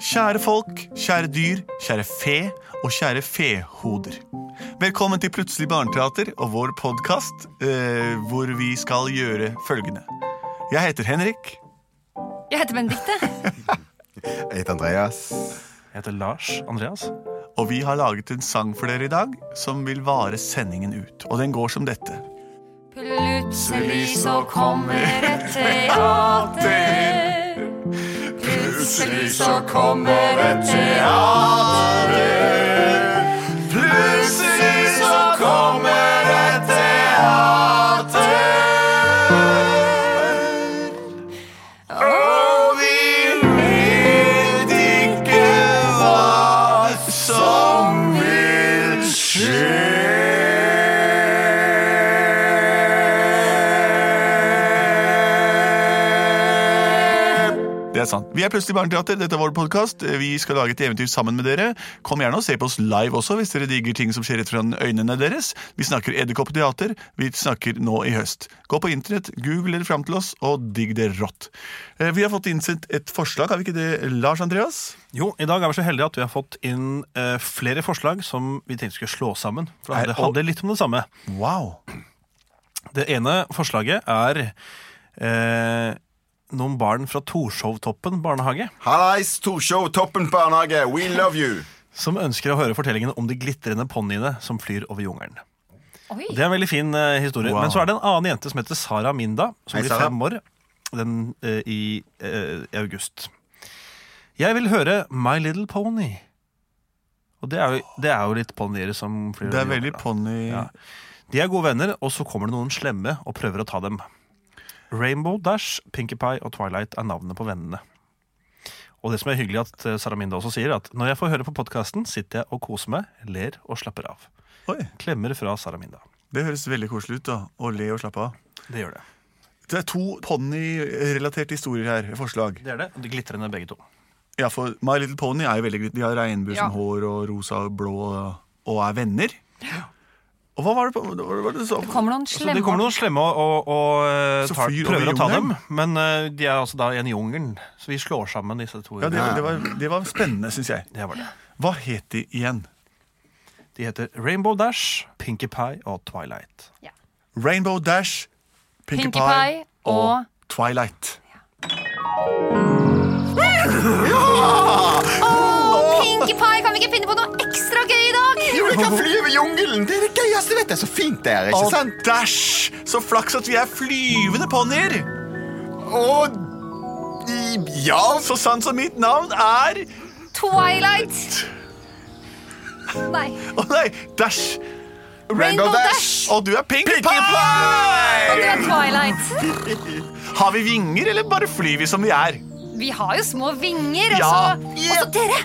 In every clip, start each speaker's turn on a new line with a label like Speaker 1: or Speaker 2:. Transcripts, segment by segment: Speaker 1: Kjære folk, kjære dyr, kjære fe og kjære fehoder. Velkommen til Plutselig barneteater og vår podkast eh, hvor vi skal gjøre følgende. Jeg heter Henrik.
Speaker 2: Jeg heter Benedikte.
Speaker 3: Jeg heter Andreas.
Speaker 4: Jeg heter Lars Andreas.
Speaker 1: Og vi har laget en sang for dere i dag som vil vare sendingen ut. Og den går som dette.
Speaker 2: Plutselig så kommer et teater. Plutselig så kommer et
Speaker 1: teater. Plutselig så kommer et teater. Og vi vet ikke hva som vil skje. Det er sant. Vi er Plutselig barneteater. Dette er vår podkast. Vi skal lage et eventyr sammen med dere. Kom gjerne og se på oss live også, hvis dere digger ting som skjer rett foran øynene deres. Vi snakker edderkoppteater. Vi snakker nå i høst. Gå på internett, google dere fram til oss, og digg det rått. Eh, Vi har fått innsendt et forslag, har vi ikke det, Lars Andreas?
Speaker 4: Jo, I dag er vi så heldige at vi har fått inn eh, flere forslag som vi tenkte skulle slå sammen. For
Speaker 1: Nei,
Speaker 4: det
Speaker 1: og-
Speaker 4: handler litt om det samme.
Speaker 1: Wow.
Speaker 4: Det ene forslaget er eh, noen barn fra Torshovtoppen barnehage
Speaker 3: Hallais, Torshow, Toppen barnehage, we love you!
Speaker 4: som ønsker å høre fortellingen om de glitrende ponniene som flyr over jungelen.
Speaker 2: Oi,
Speaker 4: Det er en veldig fin eh, historie.
Speaker 1: Wow.
Speaker 4: Men så er det en annen jente som heter Sara Minda, som
Speaker 3: Hei,
Speaker 4: blir
Speaker 3: Sara.
Speaker 4: fem år den, eh, i eh, i august. Jeg vil høre My Little Pony. Og det er jo, det er jo litt ponnier som flyr.
Speaker 1: Det er
Speaker 4: over
Speaker 1: veldig
Speaker 4: jorda.
Speaker 1: ponni...
Speaker 4: Ja. De er gode venner, og så kommer det noen slemme og prøver å ta dem. Rainbow Dash, Pinkie Pie og Twilight er navnene på vennene. Og det som er hyggelig at eh, Sara Minda også sier, at når jeg får høre på podkasten, sitter jeg og koser meg, ler og slapper av.
Speaker 1: Oi,
Speaker 4: Klemmer fra Sara Minda.
Speaker 1: det høres veldig koselig ut da, å le og slappe av.
Speaker 4: Det gjør det.
Speaker 1: Det er to ponni-relaterte historier her, forslag.
Speaker 4: Det er det. og De glitrende begge to.
Speaker 1: Ja, for My Little Pony er jo veldig glitt. De har regnbue som
Speaker 2: Ja.
Speaker 1: hår og rosa og blå og er venner. Og hva var det på hva var det du sa?
Speaker 2: det kommer noen
Speaker 4: Så Altså, det
Speaker 2: slemme
Speaker 4: kommer noen slemme og, og, og eh,
Speaker 1: Så
Speaker 4: tar,
Speaker 1: flyr over
Speaker 4: prøver å ta dem,
Speaker 1: jungelen.
Speaker 4: men eh, de er altså da i en jungel. Så vi slår sammen disse to.
Speaker 1: Ja, det, det, var, det var spennende, syns jeg.
Speaker 4: det var det.
Speaker 1: Hva het de igjen?
Speaker 4: De heter Rainbow Dash, Pinkie Pie og Twilight.
Speaker 1: Rainbow Dash, Pinkie,
Speaker 2: Pinkie Pie og-
Speaker 1: Twilight.
Speaker 2: Pinkie Pie, kan vi ikke finne på noe ekstra gøy i dag?
Speaker 3: Jo, vi kan fly over jungelen! Det er det gøyeste, vet du! Så fint det er, ikke
Speaker 1: Og
Speaker 3: sant?
Speaker 1: Dash! Så flaks at vi er flyvende ponnier!
Speaker 3: Og i- ja
Speaker 1: Så sant som mitt navn er
Speaker 2: Twilight. Nei.
Speaker 1: Å nei, Dash!
Speaker 2: Rainbow
Speaker 3: Rainbow
Speaker 2: Dash.
Speaker 3: Dash!
Speaker 1: Og du er Pinkie,
Speaker 2: Og
Speaker 1: Pie!
Speaker 2: du er Twilight.
Speaker 1: Har vi vinger, eller bare flyr vi som vi er?
Speaker 2: Vi har jo små vinger, og
Speaker 1: Ja.
Speaker 2: så Og så dere!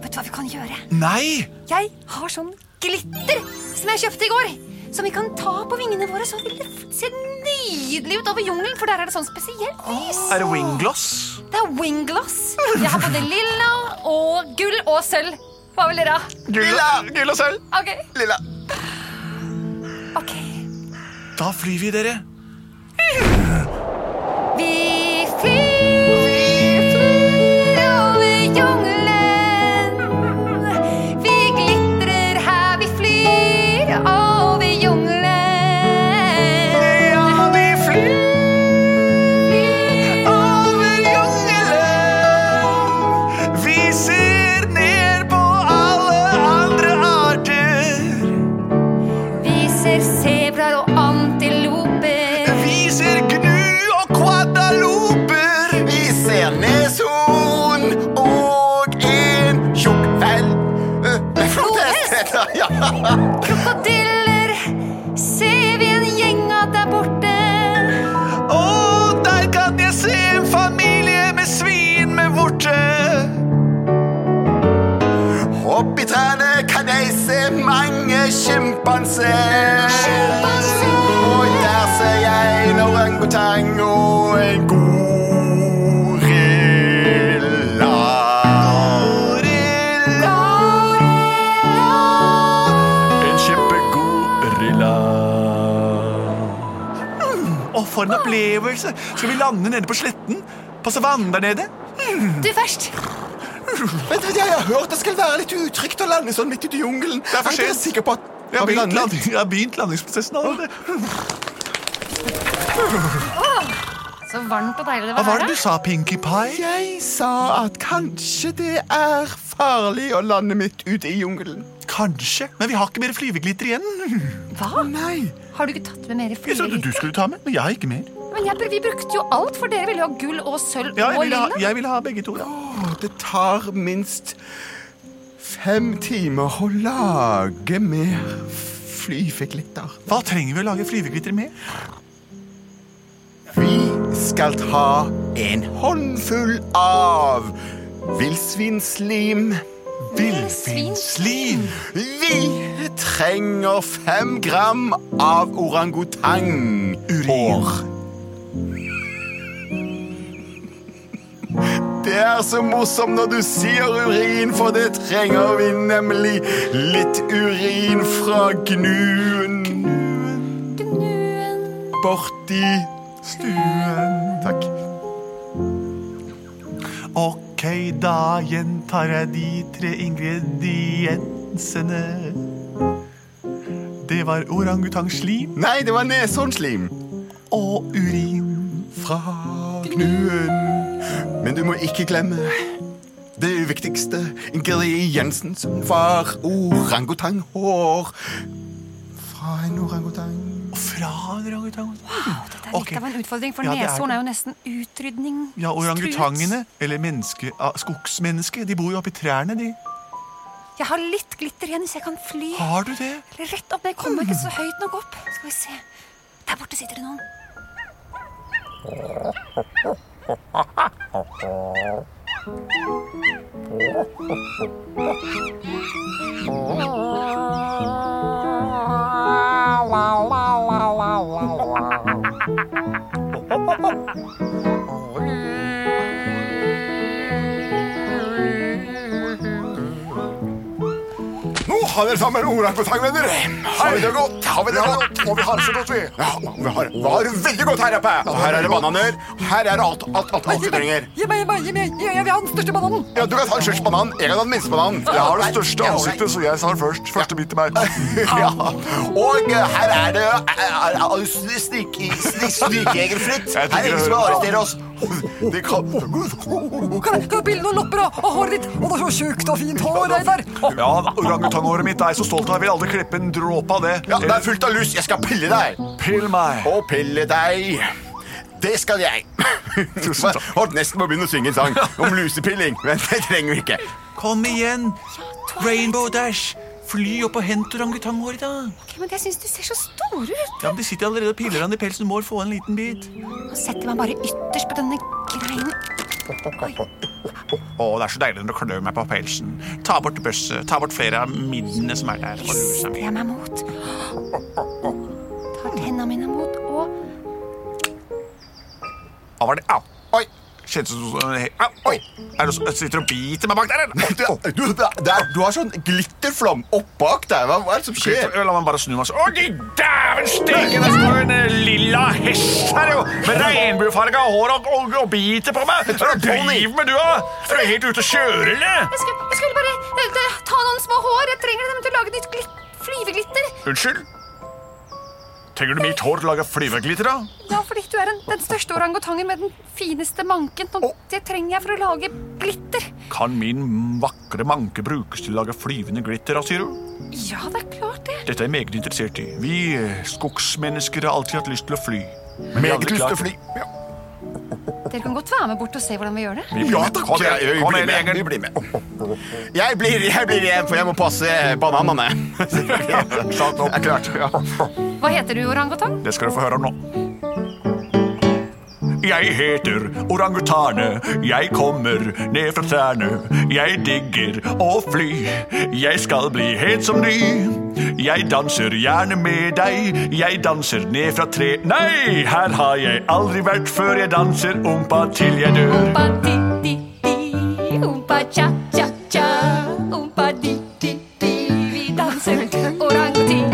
Speaker 2: Vet du hva vi kan gjøre?
Speaker 1: Nei!
Speaker 2: Jeg har sånn glitter som jeg kjøpte i går. Som vi kan ta på vingene våre, så vil det f- se nydelig ut over jungelen. For der er det sånn spesielt lys.
Speaker 1: Ah, Er det wingloss?
Speaker 2: Det er wingglass. Jeg har både lilla og gull og sølv. Hva vil dere ha?
Speaker 1: Lilla, og sølv.
Speaker 2: Ok.
Speaker 3: Lilla.
Speaker 2: ok.
Speaker 1: Da flyr vi, dere.
Speaker 2: Vi flyr over jungelen. Vi glitrer her, vi flyr over jungelen.
Speaker 1: Ja, vi flyr over jungelen. Vi ser ned på alle andre arter.
Speaker 2: Vi ser sebraer og antiloper.
Speaker 1: Vi ser gnu og kvadaloper.
Speaker 3: Vi ser neshorn og en tjukk vel... eh,
Speaker 2: Flodhest.
Speaker 3: heter det, Ja.
Speaker 2: Krokodiller ser vi en gjeng av der borte.
Speaker 1: Og der kan jeg se en familie med svin med vorte.
Speaker 3: Opp i trærne kan jeg se mange sjimpanser. Og der ser jeg en orangutang og en gorilla. Gorilla.
Speaker 1: En kjempegod rilla. Mm. Å, for en opplevelse! Skal vi lande nede på sletten? På savannen der nede?
Speaker 2: Du først.
Speaker 3: Vet du, hva, Jeg har hørt det skal være litt utrygt å lande sånn midt ute i jungelen.
Speaker 1: er for
Speaker 3: Er dere
Speaker 1: sent.
Speaker 3: sikre på at
Speaker 1: Jeg har
Speaker 3: Har vi
Speaker 1: begynt,
Speaker 3: landet?
Speaker 1: landing, jeg har begynt landingsprosessen allerede.
Speaker 5: Så varmt og deilig det
Speaker 1: Hva
Speaker 5: var
Speaker 1: var det
Speaker 5: her,
Speaker 1: du
Speaker 5: da.
Speaker 1: sa, Pinkie Pie?
Speaker 3: Jeg sa at kanskje det er farlig å lande midt ute i jungelen.
Speaker 1: Kanskje, men vi har ikke mer flyveglitter igjen.
Speaker 5: Hva?
Speaker 3: Nei.
Speaker 5: Har du ikke tatt med mer i
Speaker 1: Jeg trodde du
Speaker 5: flyet?
Speaker 1: skulle ta med, men jeg har ikke mer.
Speaker 5: Men jeg, vi brukte jo alt, for dere ville jo ha gull og sølv
Speaker 1: Ja, jeg
Speaker 5: og
Speaker 1: ville ha,
Speaker 5: lilla.
Speaker 1: jeg ville ha begge to, da.
Speaker 3: Å, det tar minst fem timer å lage mer flyveglitter.
Speaker 1: Hva trenger vi å lage flyveglitter med?
Speaker 3: Vi skal ta en håndfull av villsvinslim.
Speaker 1: Villfinslim.
Speaker 3: Vi trenger fem gram av orangutang.
Speaker 1: Urin.
Speaker 3: Det er så morsomt når du sier urin, for det trenger vi nemlig litt urin fra gnuen
Speaker 5: Gnuen.
Speaker 3: borti stuen. Takk.
Speaker 1: Ok, da gjentar jeg de tre ingrediensene. Det var orangutangslim
Speaker 3: Nei, det var neshornslim
Speaker 1: og urin.
Speaker 3: fra gnuen. Men du må ikke glemme det viktigste ingrediensen, som var orangutanghår fra en orangutang.
Speaker 1: Fra orangutang.
Speaker 5: Wow, dette, er-
Speaker 1: Ok.
Speaker 5: dette var en utfordring, for
Speaker 1: Ja, det er
Speaker 5: neshorn
Speaker 1: det.
Speaker 5: er jo nesten utrydning.
Speaker 1: Ja, orangutangene, eller menneske, ah, skogsmennesker, de bor jo oppi trærne, de.
Speaker 5: Jeg har litt glitter igjen, så jeg kan fly
Speaker 1: Har du det?
Speaker 5: rett opp. Men jeg kommer ikke så høyt nok opp. Skal vi se. Der borte sitter det noen.
Speaker 3: Nå har dere sammen orangutangvenner. Har vi det godt? Har vi det godt? Og vi har det så godt, vi. Ja, vi har, vi har det veldig godt her oppe. Og her er det bananer. Her er det alt, alt, alt, alt vi trenger.
Speaker 5: Gi meg, gi meg, gi meg! Jeg vil ha den største bananen!
Speaker 3: Ja, du kan ta den største bananen. Jeg kan ta den minste bananen. Jeg har det største ansiktet, så jeg tar først. Første bit til meg. ja. Og eh, her er det snikjegerfritt. Her er ingen som vil arrestere oss. Det kan
Speaker 6: Kan, kan jeg bilde noen lopper av av håret ditt? Å, det er så tjukt og fint hår, Reidar.
Speaker 1: Ja, orangutanghåret mitt er jeg så stolt av. Jeg vil aldri klippe en dråpe av det.
Speaker 3: Ja, det er fullt av lus. Jeg skal pille deg.
Speaker 1: Pill meg.
Speaker 3: Og pille deg. Det skal jeg. Tusen takk. Holdt nesten på å begynne å synge en sang om lusepilling, men det trenger vi ikke.
Speaker 1: Eh, Kom igjen. Rainbow Dash. Fly opp og hent orangutanghåret, da.
Speaker 5: Ok, men jeg syns de ser så store ut.
Speaker 1: Ja, men De sitter allerede og piller han i pelsen. Du må få en liten bit.
Speaker 5: Nå setter jeg meg bare ytterst på denne greinen.
Speaker 1: Å, det er så deilig når du klør meg på pelsen. Ta bort bøsset. Ta bort flere av middene som er der. på lusa
Speaker 5: Rister
Speaker 1: mi.
Speaker 5: jeg meg mot. Tar hendene mine mot og
Speaker 1: Hva var det? Au. Oi. Kjentes ut som Au. Oi. Er det noe som sitter og biter meg bak der, eller?
Speaker 3: Du, du, det er, du har sånn glitterflom opp bak deg. Hva, hva er det som skjer?
Speaker 1: La meg bare snu meg sånn. Å, de dæven steke! Der står en eh, lilla hest her, jo! Med regnbuefarga hår og, og, og biter på meg! Hva driver med du, da? Er du helt ute å kjøre, eller?
Speaker 5: Jeg skulle, jeg skulle bare eh, ta noen små hår. Jeg trenger dem til å lage nytt glitt, flyveglitter.
Speaker 1: Unnskyld? Trenger du mitt hår til å lage flyveglitter, da?
Speaker 5: Ja, fordi du er den, den største orangutangen med den fineste manken. Og det trenger jeg for å lage glitter.
Speaker 1: Kan min vakre manke brukes til å lage flyvende glitter, da, sier du?
Speaker 5: Ja, det er klart, det.
Speaker 1: Dette er jeg meget interessert i. Vi eh, skogsmennesker har alltid hatt lyst til å fly. Men vi har
Speaker 3: Meget
Speaker 1: aldri
Speaker 3: lyst til å
Speaker 1: klart
Speaker 3: fly.
Speaker 1: det.
Speaker 3: Ja,
Speaker 5: Dere kan godt være med bort og se hvordan vi gjør det.
Speaker 1: Vi blir
Speaker 3: ja
Speaker 1: med.
Speaker 3: takk.
Speaker 1: Kom igjen,
Speaker 3: Jeg, jeg,
Speaker 1: kom
Speaker 3: blir
Speaker 1: igjen,
Speaker 3: med.
Speaker 1: gjengen.
Speaker 3: jeg blir med. Jeg blir, jeg blir igjen, for jeg må passe eh, bananene.
Speaker 1: Satt
Speaker 3: Det
Speaker 1: opp.
Speaker 3: er klart. Ja.
Speaker 5: Hva heter du, orangutang?
Speaker 1: Det skal du få høre om nå. Jeg heter orangutane, jeg kommer ned fra trærne. Jeg digger å fly, jeg skal bli helt som ny. Jeg danser gjerne med deg, jeg danser ned fra tre... Nei, her har jeg aldri vært før, jeg danser ompa til jeg dør.
Speaker 2: Oompa di di di, oompa cha cha cha, oompa di di di, vi danser orangutang.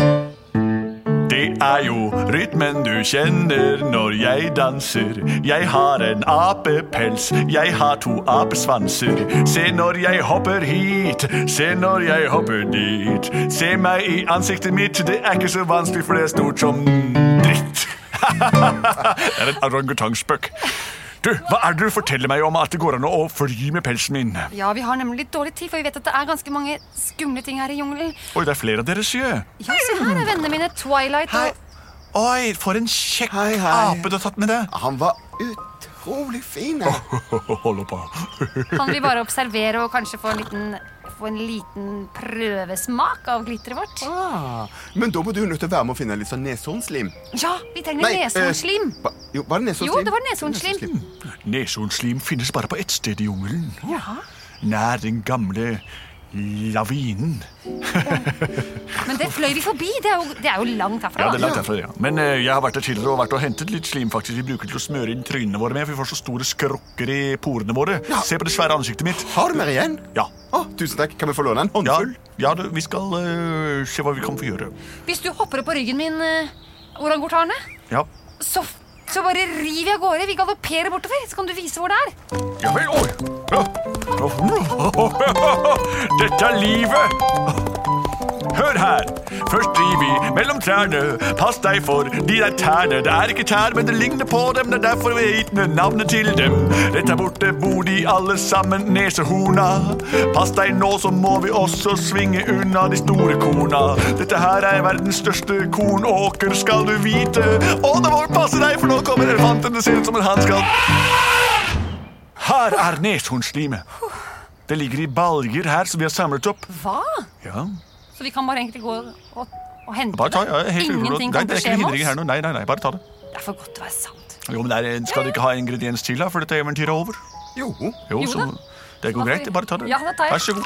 Speaker 1: Det er jo rytmen rytmen du kjenner når jeg danser. Jeg har en apepels, jeg har to apesvanser. Se når jeg hopper hit, se når jeg hopper dit. Se meg i ansiktet mitt, det er ikke så vanskelig, for det er stort som dritt. det er en orangutangspøk. Du, hva er det du forteller meg om at det går an å fly med pelsen min?
Speaker 5: Ja, vi har nemlig litt dårlig tid, for vi vet at det er ganske mange skumle ting her i jungelen.
Speaker 1: Oi, det er flere av dere, sjø.
Speaker 5: Ja, se her er vennene mine, Twilight
Speaker 3: Hei.
Speaker 5: og
Speaker 1: Oi, for en kjekk
Speaker 3: Hei, hei.
Speaker 1: ape du har tatt med deg.
Speaker 3: Han var utrolig fin. eh. jeg.
Speaker 1: Hold opp, da.
Speaker 5: Kan vi bare observere og kanskje få en liten, få en liten prøvesmak av glitteret vårt?
Speaker 3: Ah, men da må du nødt til å være med å finne litt sånn neshornslim.
Speaker 5: Ja, vi trenger
Speaker 3: Nei, eh,
Speaker 5: neshornslim.
Speaker 3: hva- Jo, var det neshornslim?
Speaker 5: Jo, det var neshornslim.
Speaker 1: Neshornslim finnes bare på ett sted i jungelen. Nær den gamle lavinen.
Speaker 5: Men det fløy vi forbi. Det er jo, det er jo langt herfra.
Speaker 1: Ja, det er
Speaker 5: da.
Speaker 1: langt derfra, ja. Men eh, jeg har vært der tidligere og vært og hentet litt slim faktisk vi bruker til å smøre inn trynene våre med, for vi får så store skrukker i porene våre. Se på det svære ansiktet mitt.
Speaker 3: Har du mer igjen?
Speaker 1: Ja.
Speaker 3: Å, tusen takk. Kan vi få låne en
Speaker 1: Ja,
Speaker 3: håndfull?
Speaker 1: ja du, vi skal eh, se hva vi kan få gjøre.
Speaker 5: Hvis du hopper opp på ryggen min, eh, orangutane,
Speaker 1: Ja.
Speaker 5: så, så bare river jeg av gårde. Vi galopperer bortover, så kan du vise hvor det er.
Speaker 1: Ja vel, oi! Ja. Dette er livet! Hør her! Først driver vi mellom trærne. Pass deg for de der tærne. Det er ikke tær, men det ligner på dem. Det er derfor vi har gitt dem navnet til dem. Rett der borte bor de alle sammen, nesehorna. Pass deg nå, så må vi også svinge unna de store korna. Dette her er verdens største kornåker, skal du vite. Å, det må passe deg, for nå kommer elefanten. Det ser ut som en han skal her er neshornslimet. Det ligger i baljer her som vi har samlet opp.
Speaker 5: Hva?
Speaker 1: Ja,
Speaker 5: Så vi kan bare egentlig gå og, og hente
Speaker 1: bare ta, ja,
Speaker 5: det.
Speaker 1: helt urolig.
Speaker 5: Ingenting
Speaker 1: Nei,
Speaker 5: kommer
Speaker 1: det
Speaker 5: til
Speaker 1: er ikke
Speaker 5: å skje
Speaker 1: noen
Speaker 5: med
Speaker 1: hindringer her
Speaker 5: oss.
Speaker 1: nå. Nei, nei, nei, bare ta det.
Speaker 5: Det er for godt til å være sant.
Speaker 1: Jo, men der skal du ikke ha ingrediens til da, for dette eventyret er over.
Speaker 3: Jo.
Speaker 1: Jo,
Speaker 5: Jo
Speaker 1: så
Speaker 5: da.
Speaker 1: det går
Speaker 5: Da får
Speaker 1: greit.
Speaker 5: vi-
Speaker 1: Bare ta det.
Speaker 5: Ja, da tar jeg.
Speaker 1: Vær så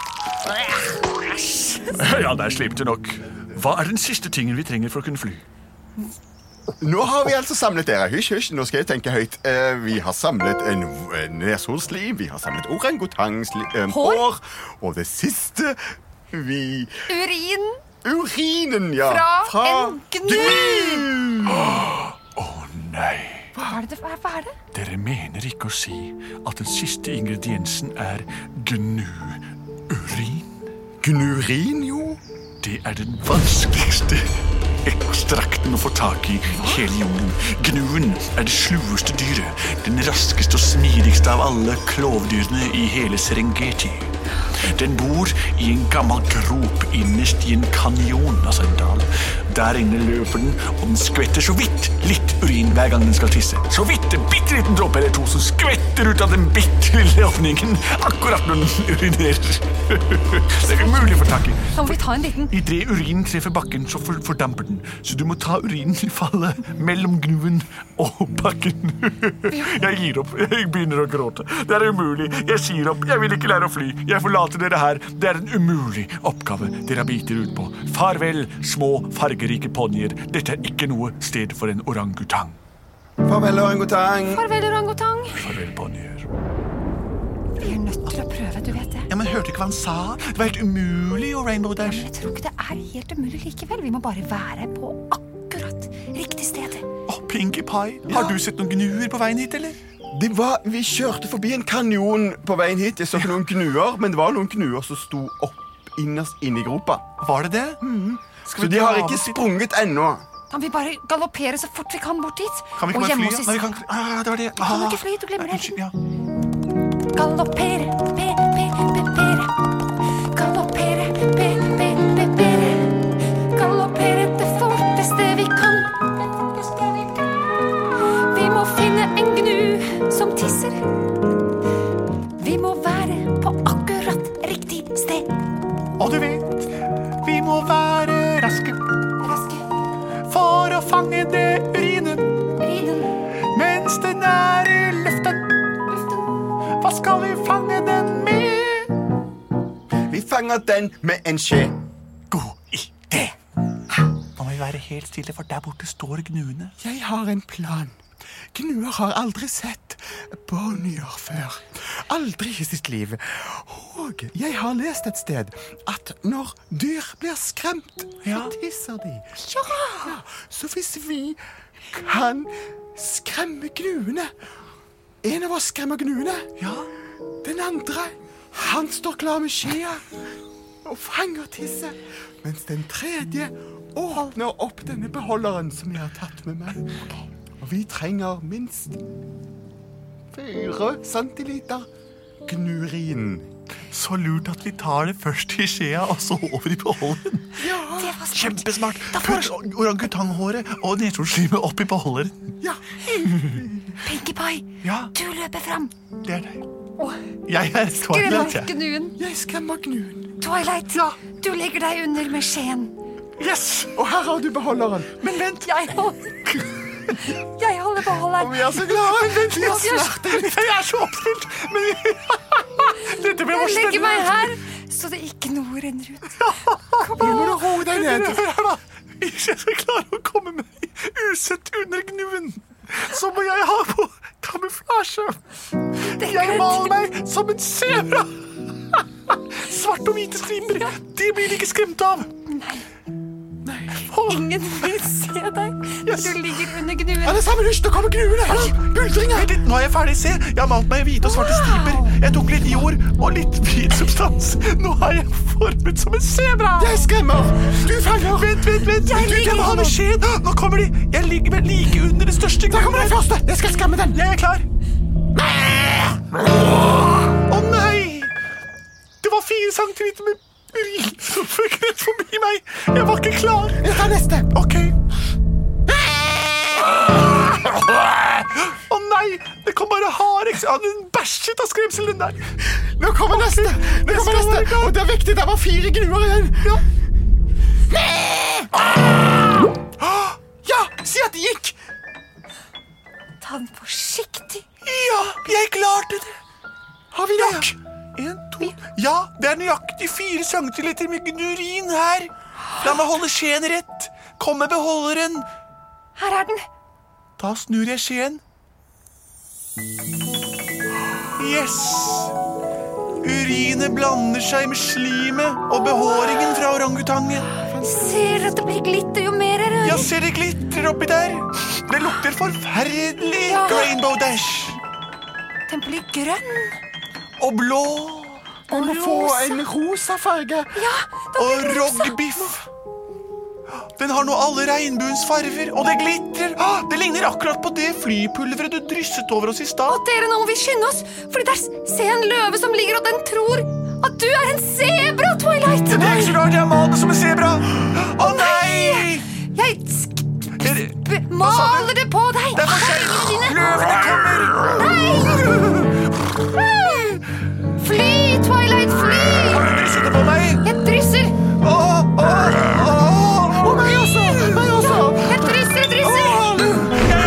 Speaker 1: god. Ja, der slimte nok. Hva er den siste tingen vi trenger for å kunne fly?
Speaker 3: Nå har vi altså samlet dere. Hysj, hysj, nå skal jeg tenke høyt. Eh, vi har samlet en en neshornslim, vi har samlet orangutangslim eh,
Speaker 5: Hår.
Speaker 3: hår, Og det siste vi
Speaker 5: Urin
Speaker 3: Urinen, ja.
Speaker 5: fra, en gnu.
Speaker 1: Nei,
Speaker 5: Hva er det? Hva er- Hva er det?
Speaker 1: dere mener ikke å si at den siste ingrediensen er gnu-urin?
Speaker 3: Gnurin, jo.
Speaker 1: Det er den vanskeligste ekstrakten å få tak i i hele jorden. Gnuen er det slueste dyret. Den raskeste og smidigste av alle klovdyrene i hele Serengeti. Den bor i en gammel grop innerst i en kanjon, altså en dal. Der inne løper den, og den skvetter så vidt litt urin hver gang den skal tisse. Så vidt en bitte liten dråpe eller to som skvetter ut av den bitte lille åpningen akkurat når den urinerer. Det er umulig å få tak i.
Speaker 5: Da må vi ta en liten
Speaker 1: Idet urinen treffer bakken, så for- fordamper den. Så du må ta urinen i fallet mellom gnuen og bakken. Jeg gir opp. Jeg begynner å gråte. Det er umulig. Jeg sier opp. Jeg vil ikke lære å fly. Jeg forlater dere her. Det er en umulig oppgave dere biter ut på. Farvel, små, fargerike ponnier. Dette er ikke noe sted for en orangutang.
Speaker 3: Farvel, orangutang.
Speaker 5: Farvel, orangutang.
Speaker 1: Farvel, ponnier.
Speaker 5: Vi er nødt til å prøve, du vet det.
Speaker 1: Ja, men hørte ikke hva han sa? Det var helt umulig å Rainbow Dash.
Speaker 5: Jeg tror ikke det er helt umulig likevel. Vi må bare være på akkurat riktig sted.
Speaker 1: Å, Pinkie Pie, har du sett noen gnuer på veien hit, eller?
Speaker 3: Det var, vi kjørte forbi en kanjon på veien hit. Jeg så ikke noen gnuer, men det var noen gnuer som sto opp innerst inne i gropa.
Speaker 1: Var det det?
Speaker 3: Så de har ikke sprunget ennå.
Speaker 5: Kan vi bare galoppere så fort vi kan bort dit?
Speaker 1: Kan vi ikke
Speaker 5: og
Speaker 1: bare fly?
Speaker 5: gjemme
Speaker 1: ja?
Speaker 5: oss i
Speaker 1: Nei, vi kan ikke... Ah, det var det.
Speaker 5: kan
Speaker 1: Ah.
Speaker 5: ikke fly, du glemmer det.
Speaker 1: Unnskyld, ja.
Speaker 5: Galoppere, pe, pe, pe, pere. Galoppere, pe, pe, pe, pere. Galoppere det forteste vi kan. Det forteste vi kan. Vi må finne en gnu som tisser. Vi må være på akkurat riktig sted.
Speaker 1: Og du vet, vi må være raske
Speaker 5: Raske
Speaker 1: for å fange det urinen
Speaker 5: riden,
Speaker 1: mens den er i luften. Hva skal vi fange den med?
Speaker 3: Vi fanger den med en skje.
Speaker 1: God idé! Nå må vi være helt stille, for der borte står gnuene.
Speaker 3: Jeg har en plan. Gnuer har aldri sett ponnier før. Aldri i sitt liv. Og jeg har lest et sted at når dyr blir skremt, så tisser de. Ja. Så hvis vi Han skremmer gnuene. En av oss skremmer gnuene. Den andre, han står klar med skjea og fanger tisset. Mens den tredje åpner opp denne beholderen som jeg har tatt med meg. Og vi trenger minst fire centiliter gnurin.
Speaker 1: Så lurt at vi tar det først i skjea, og så over i beholderen.
Speaker 5: Det var smart.
Speaker 1: Kjempesmart! Putt orangutanghåret og nedtordslimet opp i beholderen.
Speaker 3: Ja,
Speaker 5: Pinkie Pie,
Speaker 1: Ja.
Speaker 5: du løper fram.
Speaker 1: Det er deg. Jeg er Twilight,
Speaker 5: Grønland
Speaker 1: jeg.
Speaker 5: gnuen.
Speaker 3: jeg skremmer gnuen.
Speaker 5: Twilight, du legger deg under med skjeen.
Speaker 3: Yes! Og her har du beholderen.
Speaker 5: Men vent, jeg holder Jeg holder
Speaker 3: Og
Speaker 5: beholderen.
Speaker 3: vi er så glade. Vent, vi har
Speaker 5: vi er-
Speaker 3: snart en
Speaker 1: Jeg er så oppstilt! Men Dette blir
Speaker 5: Jeg
Speaker 1: bare
Speaker 5: legger
Speaker 1: spennende.
Speaker 5: meg her, så det ikke når en rundt.
Speaker 3: Nå må du roe deg ned.
Speaker 1: Hør her, da. Hvis jeg skal klare å komme meg usett under gnuen, så må jeg ha på kamuflasje.
Speaker 5: Det
Speaker 1: Jeg
Speaker 5: grønt.
Speaker 1: maler meg som en sebra. Svart og hvite striper. Det blir de ikke skremt av. Nei.
Speaker 5: Ingen vil se deg når
Speaker 1: Yes.
Speaker 5: du ligger under
Speaker 3: Alle
Speaker 5: gnuen.
Speaker 3: sammen, husk, nå kommer gnuene. Buldringer.
Speaker 1: Vent litt, nå er jeg ferdig. Se, jeg har malt meg i hvite og svarte striper. Jeg tok litt jord og litt hvit substans. Nå er jeg formet som en sebra.
Speaker 3: Jeg skremmer. Du fanger. Vent, vent, vent.
Speaker 1: Jeg
Speaker 3: du,
Speaker 1: ligger
Speaker 3: må ha
Speaker 1: med
Speaker 3: beskjed.
Speaker 1: skjeen. Nå kommer de. Jeg ligger vel like under det største
Speaker 3: Der kommer den
Speaker 1: grunnen.
Speaker 3: første. Jeg skal skremme den.
Speaker 1: Jeg er klar. Å nei! Det var fire centimeter med urin som fikk rett forbi meg. Jeg var ikke klar.
Speaker 3: Jeg tar neste.
Speaker 1: Ok. Å nei! Det kom bare hard eks- Ja, Den bæsjet av skremsel, den der.
Speaker 3: Nå kommer neste. Nå kommer
Speaker 1: skal være
Speaker 3: neste.
Speaker 1: klar.
Speaker 3: Og det er viktig, det var fire gnuer igjen. Ja. Ja, si at det gikk.
Speaker 5: Ta den forsiktig.
Speaker 1: Ja, jeg klarte det.
Speaker 3: Har vi nok?
Speaker 1: En, to Ja, det er nøyaktig fire centimeter med gnurin her. La meg holde skjeen rett. Kom med beholderen.
Speaker 5: Her er den.
Speaker 1: Da snur jeg skjeen. Yes! Urinet blander seg med slimet og behåringen fra orangutangen.
Speaker 5: Ser at det blir glitter jo mer jeg
Speaker 1: Jeg
Speaker 5: rører.
Speaker 1: ser det glitrer oppi der. Det lukter forferdelig
Speaker 5: Ja.
Speaker 1: Rainbow Dash.
Speaker 5: Den blir grønn
Speaker 1: Og blå.
Speaker 3: Du må få en rosa farge.
Speaker 5: Ja, da
Speaker 1: Og
Speaker 5: blir den rosa.
Speaker 1: rogbiff. Den har nå alle regnbuens farver, og det glitrer. Ah, Det ligner akkurat på det flypulveret du drysset over oss i stad.
Speaker 5: At dere nå vil skynde oss, for der s- ser jeg en løve som ligger og den tror at du er en sebra, Twilight.
Speaker 1: Det er ikke så rart jeg maler som en sebra. Å nei!
Speaker 5: Jeg sk-
Speaker 1: Er det-
Speaker 5: b- maler det på deg.
Speaker 1: Det er for sent. Løvene kommer.
Speaker 5: Fly, Twilight, fly.
Speaker 1: Har du drysset det på meg?
Speaker 5: Jeg drysser.
Speaker 1: Å, å, å.
Speaker 3: Og meg også. Meg også.
Speaker 5: Jeg drysser, jeg drysser.
Speaker 1: Jeg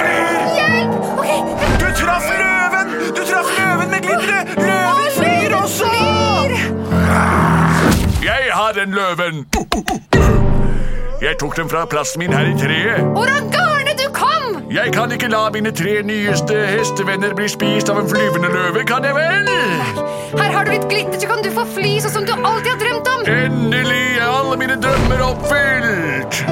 Speaker 1: flyr.
Speaker 5: Hjelp! Ok, jeg
Speaker 1: Du traff løven. Du traff løven med glitteret. Løven flyr også.
Speaker 7: Jeg har den løven. Jeg tok den fra plassen min her i treet.
Speaker 5: Orangarne, du kom!
Speaker 7: Jeg kan ikke la mine tre nyeste hestevenner bli spist av en flyvende løve, kan jeg vel?
Speaker 5: Her har du litt glitter, så kan du få fly sånn som du alltid har drømt om.
Speaker 7: Endelig er alle mine drømmer oppfylt.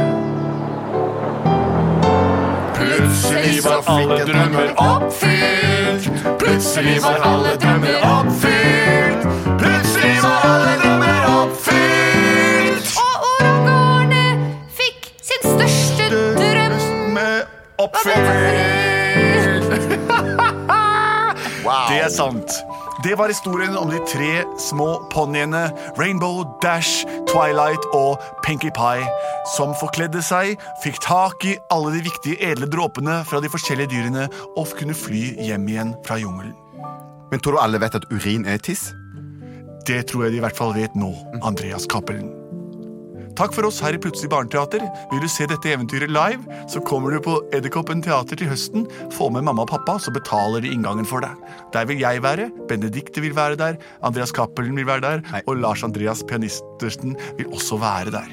Speaker 7: Plutselig var alle drømmer oppfylt. Plutselig var alle drømmer oppfylt. Plutselig var alle drømmer oppfylt.
Speaker 5: Og orangarne fikk sin største drøm.
Speaker 1: Med oppfylt. Det er sant. Det var historien om de tre små ponniene Rainbow, Dash, Twilight og Pinkie Pie, som forkledde seg, fikk tak i alle de viktige edle dråpene fra de forskjellige dyrene og kunne fly hjem igjen fra jungelen.
Speaker 3: Men tror du alle vet at urin er tiss?
Speaker 1: Det tror jeg de i hvert fall vet nå, Andreas Cappelen. Takk for oss her i Plutselig barneteater. Vil du se dette eventyret live, så kommer du på Edderkoppen teater til høsten. Få med mamma og pappa, så betaler de inngangen for deg. Der vil jeg være, Benedicte vil være der, Andreas Cappelen vil være der, og Lars Andreas Pianistersen vil også være der.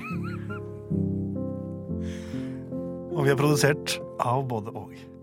Speaker 4: Og vi er produsert av både og.